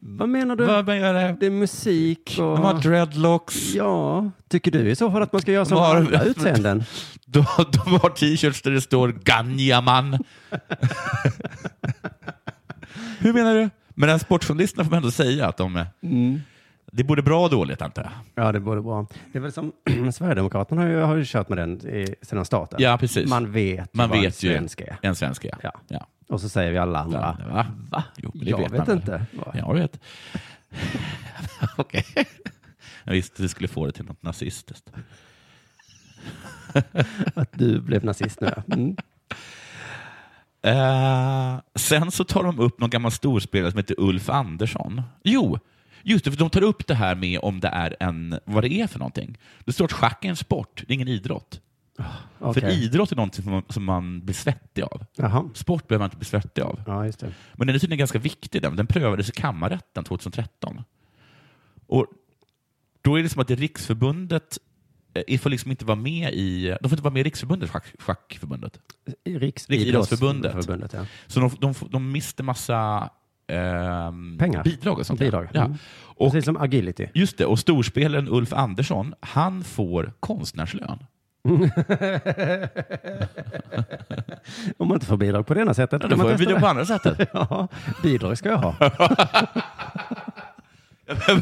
H: Vad menar du?
B: Vad menar du?
H: Det är musik och...
B: De har dreadlocks.
H: Ja, tycker du i så fall att man ska göra som
B: Var-
H: alla utseenden?
B: De, de har t-shirts där det står Ganjaman. Hur menar du? Mm. Men den här sportjournalisterna får man ändå säga att de... Det är både bra och dåligt, antar jag.
H: Ja, det borde vara. Det är väl som Sverigedemokraterna har ju, har ju kört med den i, sedan starten.
B: Ja, precis.
H: Man vet
B: Man
H: vad en
B: vet ju
H: svensk är.
B: en svensk är.
H: Ja.
B: Ja.
H: Och så säger vi alla andra.
B: Va? Va? Jo, men det
H: Jag vet
B: man väl.
H: inte.
B: Jag vet. Okej. Jag visste vi skulle få det till något nazistiskt.
H: Att du blev nazist nu. ja. Mm.
B: Eh, sen så tar de upp någon gammal storspelare som heter Ulf Andersson. Jo, just det, för de tar upp det här med om det är en, vad det är för någonting. Det står att schack är en sport, det är ingen idrott. För
H: Okej.
B: idrott är någonting som man, som man blir svettig av.
H: Jaha.
B: Sport behöver man inte bli svettig av.
H: Ja, just det.
B: Men den är tydligen ganska viktig. Den, den prövades i kammarrätten 2013. Och då är det som att det Riksförbundet eh, får liksom inte vara med i... De får inte vara med i Riksförbundet, schack, schackförbundet.
H: Riks-
B: Riksidrottsförbundet.
H: Förbundet, ja.
B: Så de, de, får- de mister massa ehm,
H: Pengar.
B: bidrag och sånt.
H: Bidrag.
B: Ja.
H: Mm.
B: Och,
H: Precis som agility.
B: just det, och storspelaren Ulf Andersson, han får konstnärslön.
H: Om man inte får bidrag på det ena sättet.
B: Ja,
H: kan
B: då
H: man
B: får jag
H: testa
B: bidrag
H: det.
B: på andra sättet.
H: Ja, bidrag ska jag ha.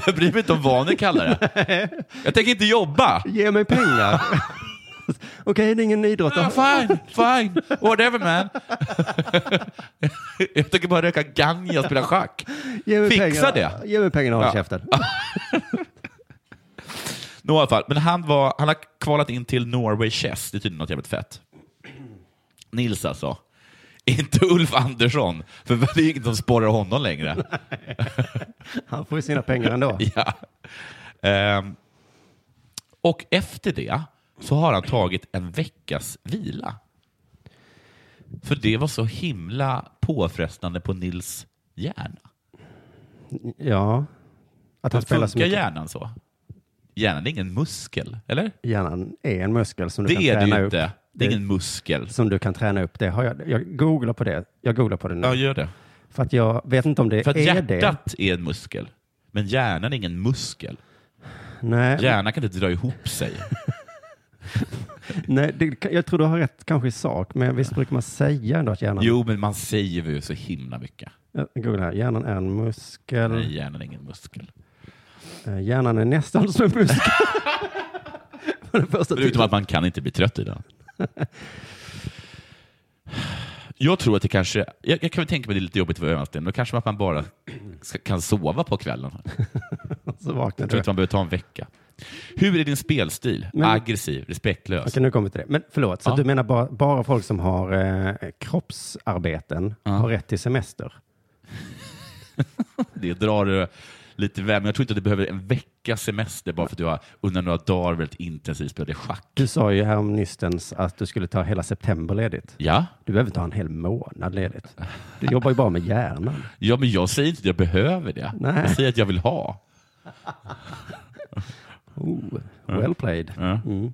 B: Jag bryr mig inte om vad ni kallar det. Jag tänker inte jobba.
H: Ge mig pengar. Okej, det är ingen idrott.
B: Ja, Ah, fine, fine, whatever man. jag tänker bara röka ganja och spela schack.
H: Ge mig
B: Fixa
H: pengarna.
B: det.
H: Ge mig pengarna och håll
B: Ja.
H: käften.
B: Nå, i alla fall. Men han, var, han har kvalat in till Norway Chess. Det är tydligen något jävligt fett. Nils alltså. Inte Ulf Andersson, för det är ju ingen som sporrar honom längre.
H: Han får ju sina pengar ändå.
B: ja. Ehm, och efter det så har han tagit en veckas vila. För det var så himla påfrestande på Nils hjärna.
H: Ja. Att han
B: Men
H: spelar så
B: funkar
H: mycket.
B: hjärnan så? Hjärnan är ingen muskel, eller?
H: Hjärnan är en muskel som du
B: Det
H: kan
B: är det
H: träna
B: ju
H: upp.
B: inte. Det är ingen muskel.
H: Som du kan träna upp. Det har jag, jag googlar på det. Jag googlar på det nu.
B: Ja, gör det.
H: För att jag vet inte om det
B: För att
H: är det.
B: hjärtat är en muskel, men hjärnan är ingen muskel.
H: Nej.
B: Hjärnan kan inte dra ihop sig.
H: Nej, det, jag tror du har rätt kanske i sak, men visst brukar man säga ändå att hjärnan,
B: Jo, men man säger ju så himla mycket.
H: Jag googlar här. hjärnan är en muskel.
B: Nej, hjärnan är ingen muskel.
H: Eh, Hjärnan är nästan som en muskel. Var det första
B: Förutom att man kan inte bli trött i den. Jag tror att det kanske, jag, jag kan väl tänka mig det är lite jobbigt för ögonsten, då kanske att man bara ska, kan sova på kvällen.
H: Så vaknar
B: jag tror
H: du.
B: inte man behöver ta en vecka. Hur är din spelstil?
H: Men-
B: Aggressiv, respektlös.
H: Okej, nu kommer vi till det. Men förlåt, så
B: Ja.
H: du menar bara, bara folk som har eh, kroppsarbeten har rätt till semester?
B: Det drar eh, lite väl, men jag tror inte att du behöver en veckas semester bara för att du har under några dagar väldigt intensivt spelade schack.
H: Du sa ju härom nystens att du skulle ta hela september ledigt.
B: Ja.
H: Du behöver ta en hel månad ledigt. Du jobbar ju bara med hjärnan.
B: Ja, men jag säger inte att jag behöver det.
H: Nej.
B: Jag säger att jag vill ha.
H: Oh, well played.
B: Ja.
H: Mm.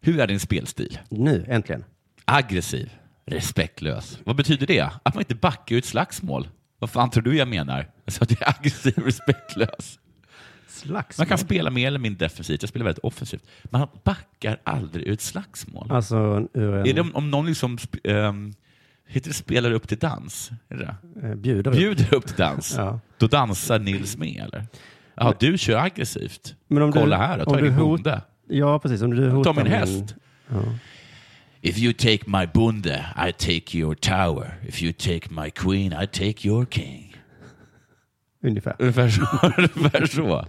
B: Hur är din spelstil?
H: Nu, äntligen.
B: Aggressiv, respektlös. Vad betyder det? Att man inte backar ur ett slagsmål. Vad fan tror du jag menar? Jag sa att jag är aggressiv och respektlös.
H: Slagsmål.
B: Man kan spela mer eller mindre defensivt. Jag spelar väldigt offensivt. Man backar aldrig ur ett slagsmål.
H: Alltså ur en...
B: Är det om, om någon liksom sp- ehm, heter det spelar upp till dans? Är det
H: Eh,
B: det?
H: bjuder upp.
B: bjuder upp till dans?
H: Ja.
B: Då dansar Nils med eller? Ja, du kör aggressivt.
H: Men om du-
B: Kolla här, jag
H: om
B: tar
H: du
B: ingen
H: hot-
B: bonde.
H: Ja, precis. Om du
B: Jag
H: hotar
B: tar min häst.
H: Ja.
B: If you take my bonde, I take your tower. If you take my queen, I take your king.
H: Ungefär.
B: Ungefär så. Ungefär så.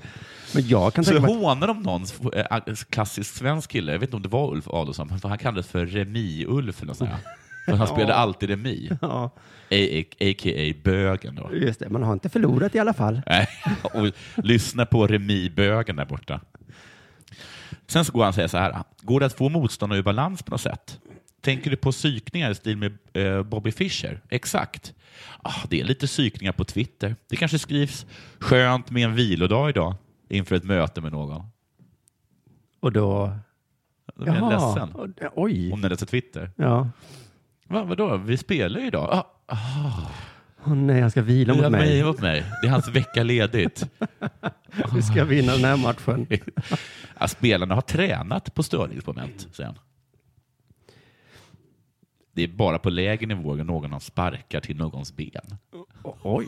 H: Men jag kan
B: så
H: tänka mig att
B: hånar de någon eh, ag- klassisk svensk kille, jag vet inte om det var Ulf Adolfsson, men han kallades för Remi-Ulf eller något sånt. där. För han spelade
H: Ja.
B: alltid Remi.
H: Ja.
B: A- a- A.k.a. bögen då.
H: Just det, man har inte förlorat i alla fall.
B: Nej, och lyssna på remibögen där borta. Sen så går han och säger så här. Går det att få motståndare ur balans på något sätt? Tänker du på psykningar i stil med eh, Bobby Fischer? Exakt. Ah, det är lite psykningar på Twitter. Det kanske skrivs skönt med en vilodag idag inför ett möte med någon.
H: Och då...
B: Då blir jag ledsen.
H: Och- Oj.
B: Om den läser Twitter.
H: Ja.
B: Va, vadå? Vi spelar ju idag. Ah, ah,
H: Åh nej, han ska vila
B: vila
H: mot mig.
B: mot mig. Det är hans vecka ledigt.
H: Vi ska vinna den här matchen.
B: Ja, spelarna har tränat på störningsmoment, säger han. Det är bara på lägre nivåer någon sparkar till någons ben.
H: Oj.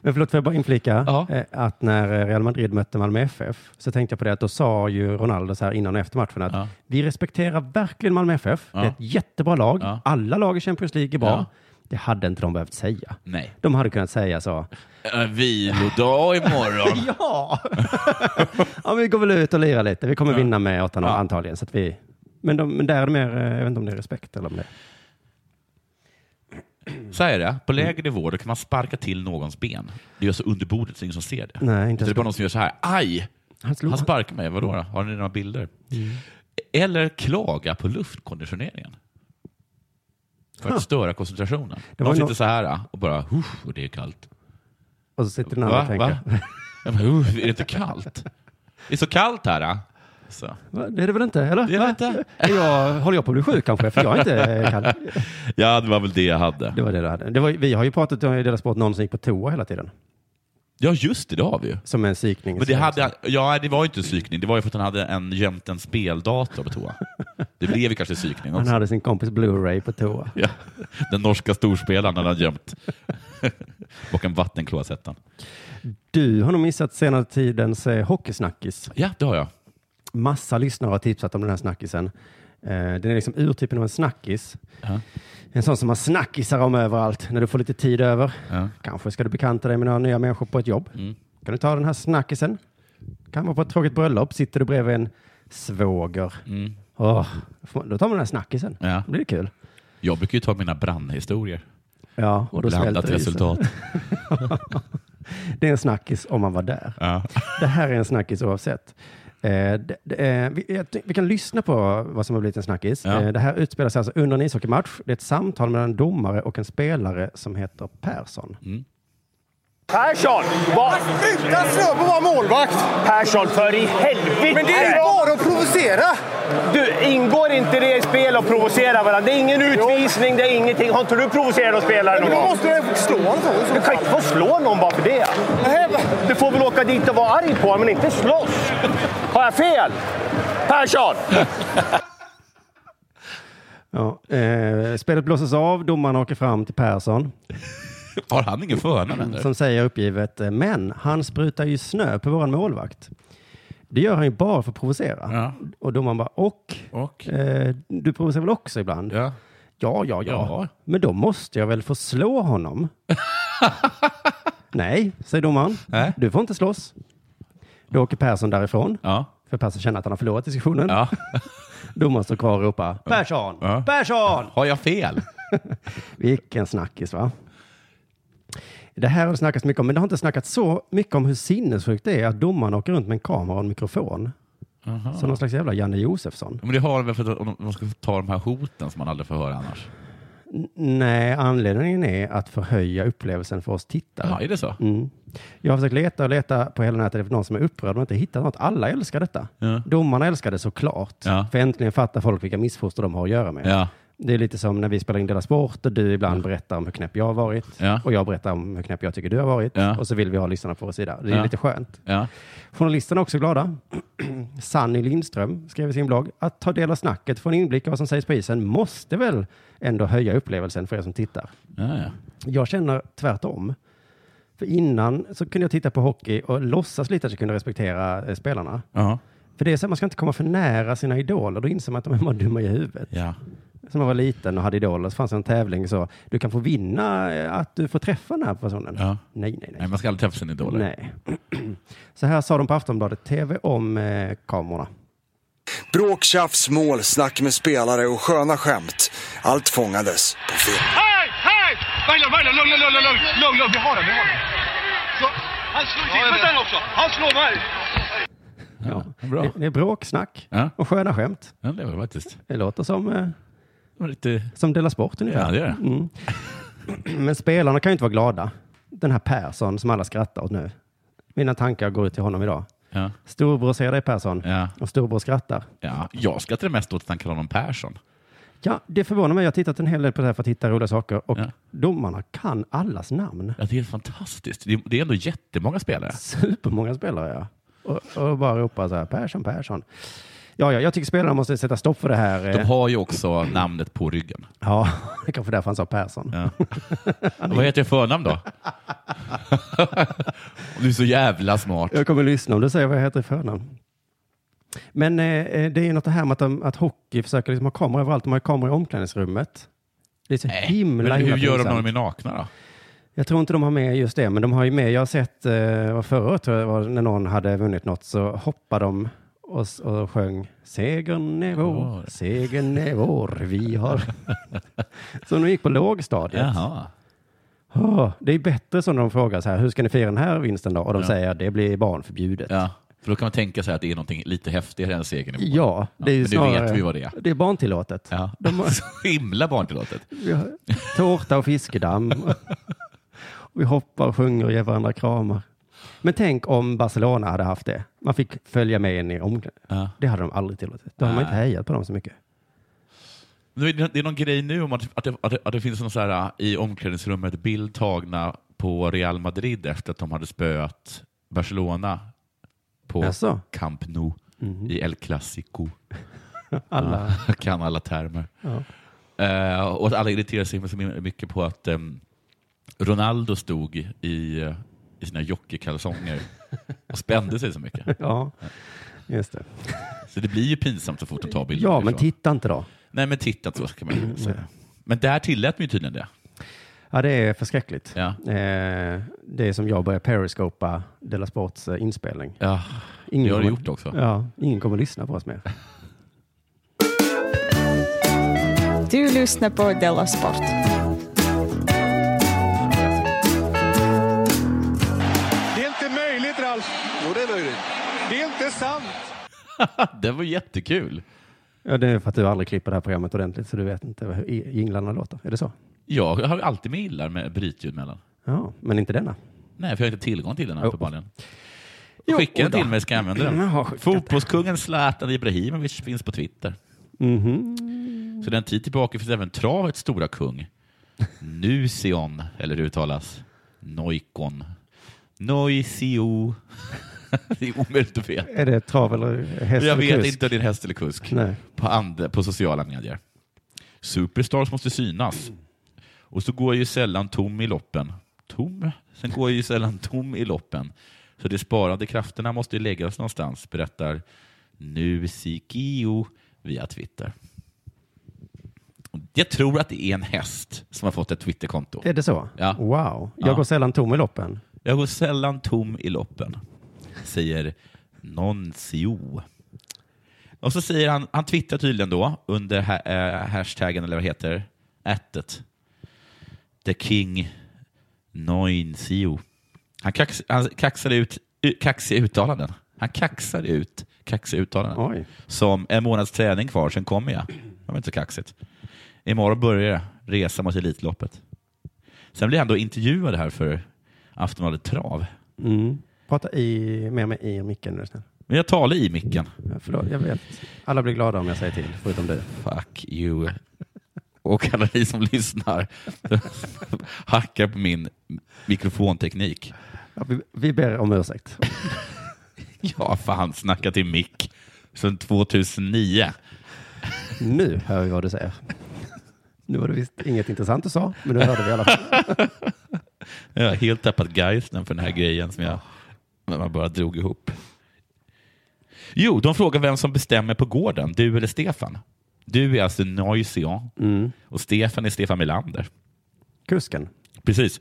H: Men förlåt, får jag bara inflika eh, att när eh, Real Madrid mötte Malmö FF så tänkte jag på det att då sa ju Ronaldo så här innan och efter matchen att vi respekterar verkligen Malmö FF. Det är
B: Ja.
H: ett jättebra lag.
B: Ja.
H: Alla lag i Champions League är bra.
B: Ja.
H: Det hade inte de behövt säga.
B: Nej.
H: De hade kunnat säga så.
B: En Äh, vilodag imorgon.
H: Ja! ja, men vi går väl ut och lirar lite. Vi kommer vinna med 8-0 antagligen. Så att vi... men, de, men där är det mer, eh, jag vet inte om det är respekt eller om det
B: Så här är det. På lägre nivåer då kan man sparka till någons ben. Det gör så under bordet så ingen som ser det.
H: Nej,
B: så det
H: inte
B: är
H: ens
B: bara någon som gör så här. Aj! Han, sparkar mig. Vadå då? Har ni några bilder?
H: Mm.
B: Eller klaga på luftkonditioneringen. För att
H: Huh.
B: störa koncentrationen.
H: Det
B: De
H: var ju
B: sitter
H: nå-
B: så här och bara, "Uff, och det är kallt.
H: Och så sitter den andra och tänker.
B: Va? Jag bara, "Uh, är det inte kallt? Det är så kallt här. Äh? Så.
H: Va? Det är det väl inte? Eller?
B: Det är det inte.
H: Är jag, håller jag på att bli sjuk kanske? För jag är inte eh, kall.
B: Ja, det var väl det jag hade.
H: Det var det du hade. Det var, vi har ju pratat om i Dela Sport någon som gick på toa hela tiden.
B: Ja, just det, det har vi ju.
H: Som en psykning.
B: Men det, hade, ja, det var ju inte psykning, det var ju för att han hade en gömt en speldator på toa. Det blev ju kanske psykning
H: Han
B: också.
H: hade sin kompis Blu-ray på toa.
B: Ja. Den norska storspelaren hade han gömt bakom vattenkloasetten.
H: Du har nog missat senare tidens eh, hockeysnackis.
B: Ja, det har jag.
H: Massa lyssnare har tipsat om den här snackisen. Eh, den är liksom urtypen av en snackis.
B: Ja.
H: En sån som man snackisar om överallt när du får lite tid över.
B: Ja.
H: Kanske ska du bekanta dig med några nya människor på ett jobb.
B: Mm.
H: Kan du ta den här snackisen? Kan vara på ett tråkigt bröllop. Sitter du bredvid en svåger.
B: Mm.
H: Åh, då tar man den här snackisen.
B: Ja.
H: Då blir det kul.
B: Jag brukar ju ta mina brandhistorier.
H: Ja,
B: Och
H: då
B: blandat
H: svälter isen.
B: resultat.
H: det är en snackis om man var där. Det här är en snackis oavsett. Eh, det, det, är- vi, jag ty- vi kan lyssna på vad som har blivit en snackis.
F: Ja.
H: Eh, det här utspelar sig alltså under en ishockeymatch. Det är ett samtal mellan en domare och en spelare som heter Persson.
J: Persson! Vad... Sluta slå på vår målvakt! Persson, för i helvete!
K: Men det är ju bara att provocera.
J: Du, ingår inte det i spel att provocera varandra? Det är ingen utvisning, det är ingenting. Har inte du provocerat någon spelare
K: Ja, men
J: någon
K: då
J: gång?
K: måste jag slå honom så.
J: Du kan inte få slå någon bara för det. Du får väl åka dit och vara arg på honom, men inte slåss. Har jag fel? Persson!
H: Ja, eh, spelet blåses av, domaren åker fram till Persson.
B: Har han ingen förnamn eller?
H: Som säger uppgivet, eh, men han sprutar ju snö på våran målvakt. Det gör han ju bara för att provocera. Och domaren bara, och? Eh, du provocerar väl också ibland?
B: Ja.
H: Ja, ja,
B: Ja.
H: Men då måste jag väl få slå honom? Nej, säger domaren. Du får inte slåss. Då åker Persson därifrån. För Persson känner att han har förlorat diskussionen. domaren står kvar och ropar, Persson! Persson!
B: Har jag fel?
H: Vilken snackis va? Det här har det snackats mycket om, men det har inte snackats så mycket om hur sinnessjukt det är att domaren åker runt med en kamera och en mikrofon.
B: Aha.
H: Som någon slags jävla Janne Josefsson.
B: Men det har de väl för att de de ska ta de här hoten som man aldrig får höra annars?
H: N- Nej, anledningen är att förhöja upplevelsen för oss tittare.
B: Ja, är det så?
H: Mm. Jag har försökt leta och leta på hela nätet efter någon som är upprörd och inte hittat något. Alla älskar detta.
B: Ja.
H: Domarna älskar det såklart.
B: Ja.
H: För äntligen fattar folk vilka missfoster de har att göra med.
B: Ja.
H: Det är lite som när vi spelar in Dela Sport och du ibland berättar om hur knäpp jag har varit
B: Ja.
H: och jag berättar om hur knäpp jag tycker du har varit
B: Ja.
H: och så vill vi ha lyssnarna på vår sida. Det är
B: Ja.
H: lite skönt.
B: Ja.
H: Journalisterna är också glada. Sanny Lindström skrev i sin blogg att ta del av snacket, få en inblick i vad som sägs på isen måste väl ändå höja upplevelsen för er som tittar.
B: Ja, ja.
H: Jag känner tvärtom. För innan så kunde jag titta på hockey och låtsas lite att jag kunde respektera eh, spelarna.
B: Ja.
H: För det är så att man ska inte komma för nära sina idoler. Då inser man att de är bara dumma i huvudet.
B: Ja.
H: Som man var liten och hade idoler så fanns det en tävling så du kan få vinna eh, att du får träffa den här personen. Nej, nej, nej.
B: Nej, man ska aldrig träffa sina idoler.
H: Nej. Så här sa de på Aftonbladet TV om eh, kamerorna.
L: Bråk, tjafs, mål, snack med spelare och sköna skämt. Allt fångades på film.
J: Hej! Hej! Berglund, Berglund, lugn, lugn, lugn, lugn, lugn, lugn, vi har den, vi har den. Så, han slår till, skjut den också! Han slår mig!
H: Ja.
B: bra.
H: Det, det är bråk, snack och sköna skämt.
B: Ja, det var det faktiskt.
H: Det låter som, eh,
B: lite...
H: som Dela Sport ungefär.
B: Ja, det gör det.
H: Mm. Men spelarna kan ju inte vara glada. Den här Persson som alla skrattar åt nu. Mina tankar går ut till honom idag.
B: Ja.
H: Storbror ser dig Persson och storbror skrattar.
B: Ja. Jag ska till det mest åt att han kallar honom Persson.
H: Ja, det förvånar mig. Jag har tittat en hel del på det här för att hitta roliga saker och domarna kan allas namn.
B: Ja, det är helt fantastiskt. Det är- Det är ändå jättemånga spelare.
H: Supermånga spelare, ja. Och, och bara ropar så här, Persson, Persson. Ja, ja, jag tycker spelarna måste sätta stopp för det här. eh,
B: De har ju också namnet på ryggen.
H: Ja, det är kanske därför han sa Persson.
B: Vad heter jag i förnamn då? du är så jävla smart.
H: Jag kommer lyssna om du säger vad jag heter i förnamn. Men eh, eh, det är ju något det här med att, de, att hockey försöker liksom ha kameror överallt. De har ju kameror i omklädningsrummet. Det är så himla,
B: Men hur
H: himla
B: gör de när
H: pinsamt.
B: de är nakna då?
H: Jag tror inte de har med just det, men de har ju med. Jag har sett eh, vad förra året tror jag det var, när någon hade vunnit något så hoppade de och, s- och sjöng Segern är vår, segern är vår, vi har... så de gick på lågstadiet.
B: Jaha.
H: Åh, det är bättre som de frågar så här, hur ska ni fira den här vinsten då? Och de
B: Ja.
H: säger, det blir barnförbjudet.
B: Ja, för då kan man tänka sig att det är någonting lite häftigare än segern i mål.
H: Ja, det är ju
B: men
H: snarare,
B: nu vet vi vad det är.
H: Det är barntillåtet.
B: Ja.
H: De har-
B: så himla barntillåtet.
H: Vi har tårta och fiskedamm. Och vi hoppar och sjunger och ger varandra kramar. Men tänk om Barcelona hade haft det. Man fick följa med in i omklädningsrummet. Det hade de aldrig tillåtit. Då hade man
B: Nej.
H: inte hejat på dem så mycket.
B: Nu är Det det är någon grej nu om att, att, det, att, det, att det finns någon så här, äh, i omklädningsrummet bild tagna på Real Madrid efter att de hade spöat Barcelona på
H: Jaså? Mhm.
B: Camp Nou i El Clasico.
H: Alla-
B: Ja, kan alla termer.
H: Ja.
B: Eh, och att alla irriterar sig så mycket på att ehm, Ronaldo stod i, eh, i sina jockeykalsonger och spände sig så mycket.
H: Ja, just det.
B: Så det blir ju pinsamt så fort de tar bilder.
H: Ja, men
B: därifrån.
H: titta inte då.
B: Nej, men titta så ska man
H: Mm,
B: ju säga. Men där tillät man ju tydligen det.
H: Ja, det är förskräckligt.
B: Ja.
H: Eh, det är som jag börjar periscopa Della Sports eh, inspelning.
B: Ja, det har du gjort också.
H: Ja, ingen kommer lyssna på oss mer.
M: Du lyssnar på Della Sport.
J: är sant!
B: det var jättekul.
H: Ja, det är för att du aldrig klipper det här programmet ordentligt, så du vet inte hur i- jinglarna låter. Är det så?
B: Jag har alltid med illar med brytljud mellan.
H: Ja, men inte denna.
B: Nej, för jag har inte tillgång till den här
H: Jo.
B: uppenbarligen.
H: Jo,
B: Skicka den
H: och då. Mm,
B: till mig ska jag använda
H: Jaha,
B: den.
H: skicka
B: Fotbollskungen Zlatan Ibrahimovic finns på Twitter.
H: Mhm.
B: Så den tid tillbaka finns även travets stora kung, Nusion, eller hur uttalas? Noikon. Noisio. det är omöjligt att veta.
H: Är det trav eller häst
B: Jag
H: eller
B: vet
H: kusk?
B: inte om det är häst eller kusk.
H: Nej.
B: På, and- på sociala medier. Superstars måste synas. Och så går jag ju sällan tom i loppen. Tom? Sen går jag ju sällan tom i loppen. Så de sparade krafterna måste ju läggas någonstans, berättar Nusikio via Twitter. Jag tror att det är en häst som har fått ett Twitterkonto.
H: Är det så?
B: Ja.
H: Wow. Jag
B: Ja.
H: går sällan tom i loppen.
B: Jag går sällan tom i loppen, säger Nonsio. Och så säger han, han twittrar tydligen då under ha, eh, hashtaggen, eller vad heter ättet. The King Nonsio. Han, kax, han kaxar ut u- kaxiga uttalanden. Han kaxar ut kaxiga uttalanden. Som en månads träning kvar, sen kommer jag. Det var inte så kaxigt. Imorgon börjar jag resa mot Elitloppet. Sen blir han då intervjuad här för Aftonbladet Trav.
H: Mm. Prata i, med mig i micken nu snäll.
B: Men jag talar i micken.
H: Ja, Förlåt, jag vet. Alla blir glada om jag säger till, förutom du.
B: Fuck you. Och alla ni som lyssnar hackar på min mikrofonteknik.
H: Ja, vi, vi ber om ursäkt.
B: Ja, fan, snacka till mick sedan 2009.
H: Nu hör vi vad du säger. Nu var det visst inget intressant du sa, men nu hörde vi i alla fall.
B: Jag har helt tappat geisten för den här grejen som jag när man bara drog ihop. Jo, de frågar vem som bestämmer på gården, du eller Stefan. Du är alltså Noisian och Stefan är Stefan Melander.
H: Kusken.
B: Precis.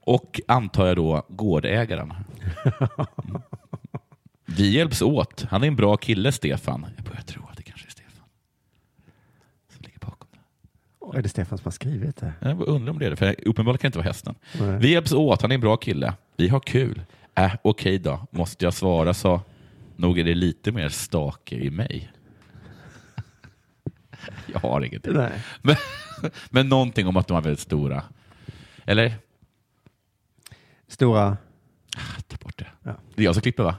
B: Och antar jag då gårdägaren. Mm. Vi hjälps åt. Han är en bra kille, Stefan. Jag börjar tro att det kanske är Stefan.
H: Åh, är det Stefan som har skrivit det?
B: Jag bara undrar om det är det, för uppenbarligen kan det inte vara hästen.
H: Nej.
B: Vi hjälps åt. Han är en bra kille. Vi har kul. Äh, okej då. Måste jag svara så. Nog är det lite mer stake i mig. Jag har ingenting.
H: Nej.
B: Men, men någonting om att de var väldigt stora. Eller?
H: Stora...
B: Ta bort det. Det är jag som klipper, va?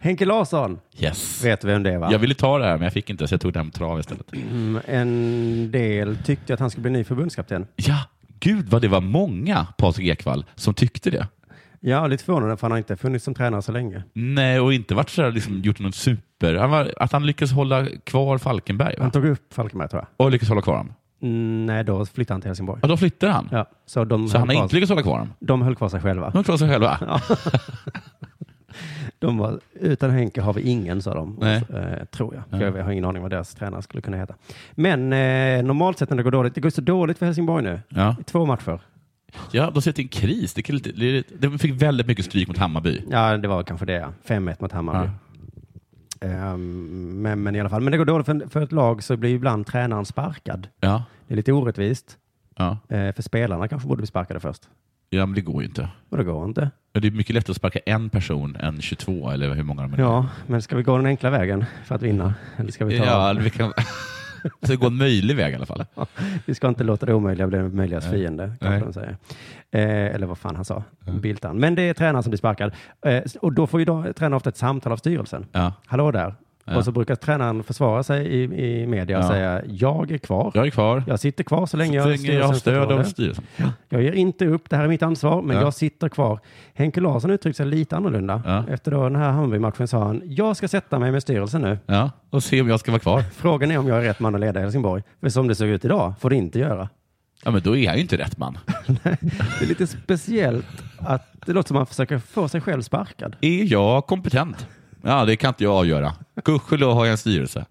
H: Henke Larsson.
B: Yes.
H: Vet du vem det är va?
B: Jag ville ta det här, men jag fick inte, så jag tog det här med trav istället.
H: Mm, En del tyckte att han skulle bli ny förbundskapten.
B: Ja, gud vad det var många, Patrik Ekwall, som tyckte det.
H: Ja, lite förvånande för han har inte funnits som tränare så länge.
B: Nej, och inte varit sådär, liksom, gjort någon super... Han var, att han lyckades hålla kvar Falkenberg, va?
H: Han tog upp Falkenberg tror jag.
B: Och lyckades hålla kvar dem.
H: Mm, nej, då flyttade han till Helsingborg.
B: Ja, då flyttade han.
H: Ja, så de
B: Så han har
H: höll kvar-
B: inte lyckats hålla kvar dem.
H: De höll kvar sig själva.
B: De har kvar sig själva.
H: De var, utan Henke har vi ingen, sa de.
B: Nej.
H: Eh, tror jag. För Jag har ingen aning vad deras tränare skulle kunna heta. Men eh, normalt sett när det går dåligt, det går så dåligt för Helsingborg nu.
B: Ja.
H: I två matcher.
B: Ja, de sitter i en kris. Det kan lite- det är- De fick väldigt mycket stryk mot Hammarby.
H: Ja, det var kanske det. ja. 5-1 mot Hammarby. Ehm, men, men i alla fall, men det går dåligt för, för ett lag så blir ju ibland tränaren sparkad.
B: Ja.
H: Det är lite orättvist.
B: Ja.
H: Eh, för spelarna kanske borde bli sparkade först.
B: ja, men det går ju inte.
H: Och det går inte.
B: Men Det är mycket lättare att sparka en person än 22, eller hur många de är.
H: Ja, men ska vi gå den enkla vägen för att vinna? Eller ska vi ta...
B: Ja, eller vi kan... Så det går en möjlig väg i alla fall.
H: Vi ska inte låta det omöjliga bli det möjligas
B: Nej.
H: fiende, kanske
B: Nej.
H: de säger. Eh, eller vad fan han sa, Biltan. Men det är tränaren som blir sparkad. Eh, s- och då får ju då, tränaren ofta ett samtal av styrelsen.
B: Ja.
H: Hallå där.
B: Ja.
H: Och så brukar tränaren försvara sig i, i media och
B: Ja.
H: säga jag är kvar.
B: Jag är kvar.
H: Jag sitter kvar så länge
B: Så
H: jag, har
B: länge jag har
H: styrelsens
B: stöd av
H: förtroende.
B: styrelsen.
H: Ja. Jag ger inte upp, det här är mitt ansvar, men
B: Ja.
H: jag sitter kvar. Henke Larsson uttryckte sig lite annorlunda. Efter då den här Hammarby-matchen sa han, jag ska sätta mig med styrelsen nu.
B: Ja, och se om jag ska vara kvar.
H: Frågan är om jag är rätt man att leda Helsingborg. För som det såg ut idag får det inte göra.
B: Ja, men då är jag ju inte rätt man.
H: Det är lite speciellt att det låter som att man försöker få sig själv sparkad.
B: Är jag kompetent? Ja, det kan inte jag avgöra. Gudskelov har jag en styrelse.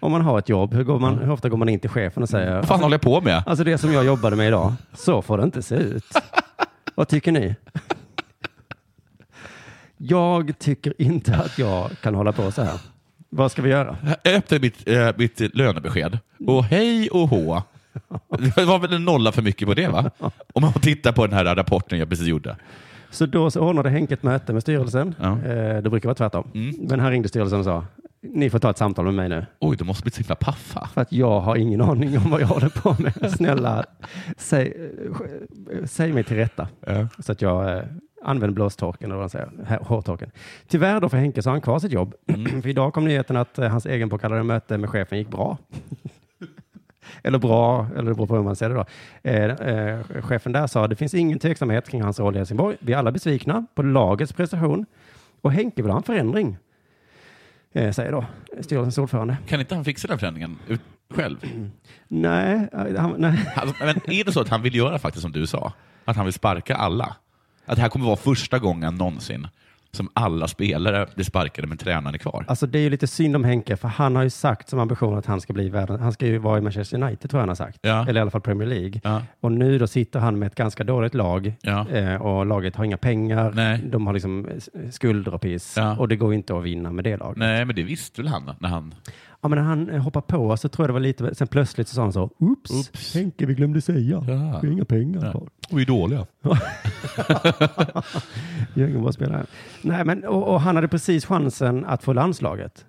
H: Om man har ett jobb, hur, går man, hur ofta går man in till chefen och säger
B: Vad fan håller jag på med?
H: Alltså det som jag jobbade med idag, så får det inte se ut. Vad tycker ni? Jag tycker inte att jag kan hålla på så här. Vad ska vi göra?
B: Jag öppnade mitt, eh, mitt lönebesked och hej och hå. Det var väl en nolla för mycket på det, va? Om man tittar på den här rapporten jag precis gjorde.
H: Så då så ordnade Henke ett möte med styrelsen. Eh, det brukar vara tvärtom. Men han ringde styrelsen och sa, ni får ta ett samtal med mig nu.
B: Oj, du måste bli så himla paffa.
H: För att jag har ingen aning om vad jag håller på med. Snälla, säg, eh, säg mig till rätta. Så att jag eh, använder blåstorken, eller vad de säger, hä- hårtorken. Tyvärr då för Henke så har han kvar sitt jobb. för idag kom nyheten att eh, hans egenpåkallade möte med chefen gick bra. eller bra, eller det beror på hur man ser det då. Eh, eh, chefen där sa det finns ingen tveksamhet kring hans roll i Helsingborg. Vi är alla besvikna på lagets prestation och Henke vill ha en förändring, eh, säger då styrelsens ordförande.
B: Kan inte han fixa den förändringen ut- själv?
H: Nej, eh, han, nej.
B: Alltså, men är det så att han vill göra faktiskt som du sa? Att han vill sparka alla? Att det här kommer vara första gången någonsin som alla spelare blir sparkade men tränaren är kvar?
H: Alltså det är ju lite synd om Henke, för han har ju sagt som ambition att han ska bli världen, han ska ju vara i Manchester United tror jag han har sagt.
B: Ja.
H: Eller i alla fall Premier League.
B: Ja.
H: Och nu då sitter han med ett ganska dåligt lag
B: Ja.
H: eh, och laget har inga pengar. De har liksom eh, skulder och piss och det går ju inte att vinna med det laget.
B: Nej, men det visste väl han när han...
H: Ja, men när han eh, hoppade på så tror jag det var lite, sen plötsligt så sa han så, oops, Henke vi glömde säga, vi har inga pengar kvar.
B: Och är dåliga.
H: Jörgen var spelare. Nej, men, och, och han hade precis chansen att få landslaget.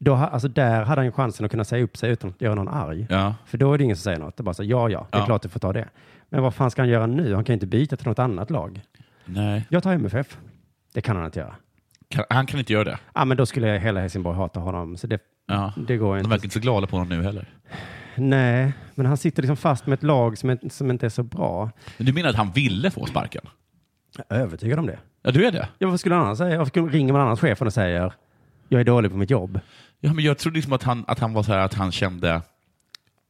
H: Då, ha- alltså, där hade han ju chansen att kunna säga upp sig utan att göra någon arg.
B: Ja.
H: För då är det ingen som säger något. Det är bara så, ja, ja, det är
B: Ja.
H: klart du får ta det. Men vad fan ska han göra nu? Han kan ju inte byta till något annat lag.
B: Nej.
H: Jag tar MFF. Det kan han inte göra.
B: Kan, han kan inte göra det.
H: Ja, men då skulle jag hela Helsingborg hata honom. Så det,
B: Ja.
H: det går ju
B: De
H: inte.
B: verkar inte så glada på honom nu heller.
H: Nej, men han sitter liksom fast med ett lag som, inte- som inte är så bra.
B: Men du menar att han ville få sparken?
H: Jag är övertygad om det.
B: Ja, du är det?
H: Ja, vad skulle han annars säga? Varför skulle- ringer man annars chefen och säger jag är dålig på mitt jobb?
B: Ja, men jag trodde liksom att han, att han var så här att han kände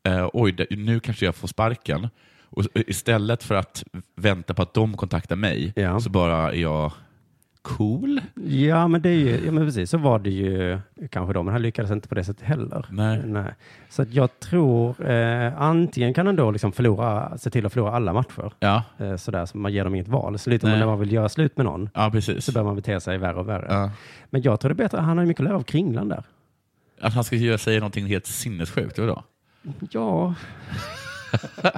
B: eh, oj, det, nu kanske jag får sparken. Och så- istället för att vänta på att de kontaktar mig så bara är jag cool.
H: Ja, men det är ju, ja, men precis så var det ju kanske då, men han lyckades inte på det sättet heller.
B: Nej.
H: Så att jag tror, eh, antingen kan han då liksom förlora, se till att förlora alla matcher,
B: Ja.
H: eh, sådär, så man ger dem inget val. Så lite
B: Nej.
H: när man vill göra slut med någon,
B: Ja, precis.
H: så börjar man bete sig värre och värre. Men jag tror det är bättre, han har ju mycket att lära av Kringland där.
B: Att han ska göra- säga någonting helt sinnessjukt, eller då?
H: Ja,
B: Men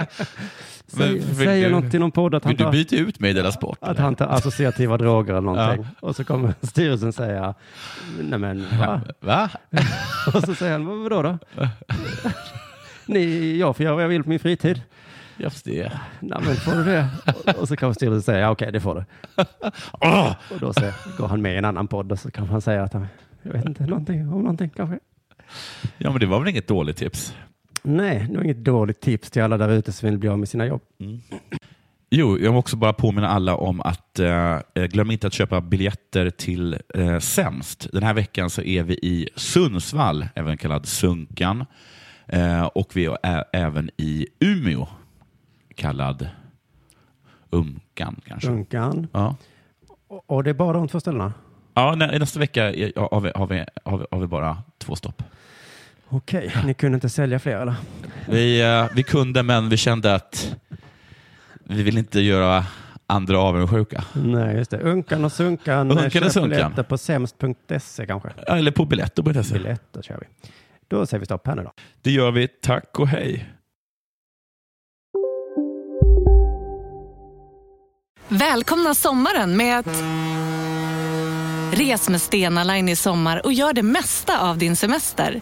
H: Säg-
B: vill
H: säger något i någon podd att han
B: Vill du
H: tar-
B: byta ut mig i Della Sport?
H: att han tar associativa droger eller någonting.
B: Ja.
H: Och så kommer styrelsen säga, nej men va?
B: Va?
H: och så säger han, "Vad- vadå då? Ni, jag får göra vad jag vill på min fritid.
B: Just det.
H: Nej men får du det? Och, och så kanske styrelsen säger, ja okej det får du.
B: Ah!
H: Och då så går han med i en annan podd och så kan han säga att han, jag vet inte, någonting om någonting kanske.
B: Ja, men det var väl inget dåligt tips?
H: Nej, det var inget dåligt tips till alla där ute som vill bli av med sina jobb.
B: Jo, jag vill också bara påminna alla om att eh, glöm inte att köpa biljetter till eh, Sämst. Den här veckan så är vi i Sundsvall, även kallad Sunkan. Eh, och vi är ä- även i Umeå, kallad Umkan kanske.
H: Mm. Dunkan.
B: Ja.
H: Och, och det är bara de två ställena?
B: Ja, nä- nästa vecka är- har vi, har, vi, har, vi, har vi bara två stopp.
H: Okej, ni kunde inte sälja fler eller?
B: Vi, eh, vi kunde, men vi kände att vi vill inte göra andra avundsjuka.
H: Nej, just det. Unkan och Sunkan.
B: Unkan och
H: Köp
B: Sunkan.
H: biljetter på sämst.se kanske.
B: Ja, Eller på biletto.se.
H: Biletto kör vi. Då säger vi stopp här nu då.
B: Det gör vi. Tack och hej.
F: Välkomna sommaren med att... Res med Stena Line i sommar och gör det mesta av din semester.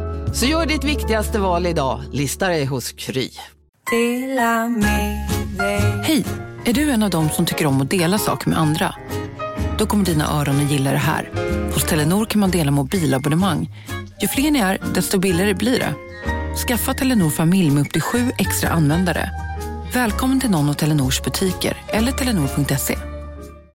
N: Så gör ditt viktigaste val idag, listar dig hos Kry.
F: Hej! Är du en av dem som tycker om att dela saker med andra? Då kommer dina öron att gilla det här. Hos Telenor kan man dela mobilabonnemang. Ju fler ni är, desto billigare blir det. Skaffa Telenor familj med upp till sju extra användare. Välkommen till någon av Telenors butiker eller telenor.se.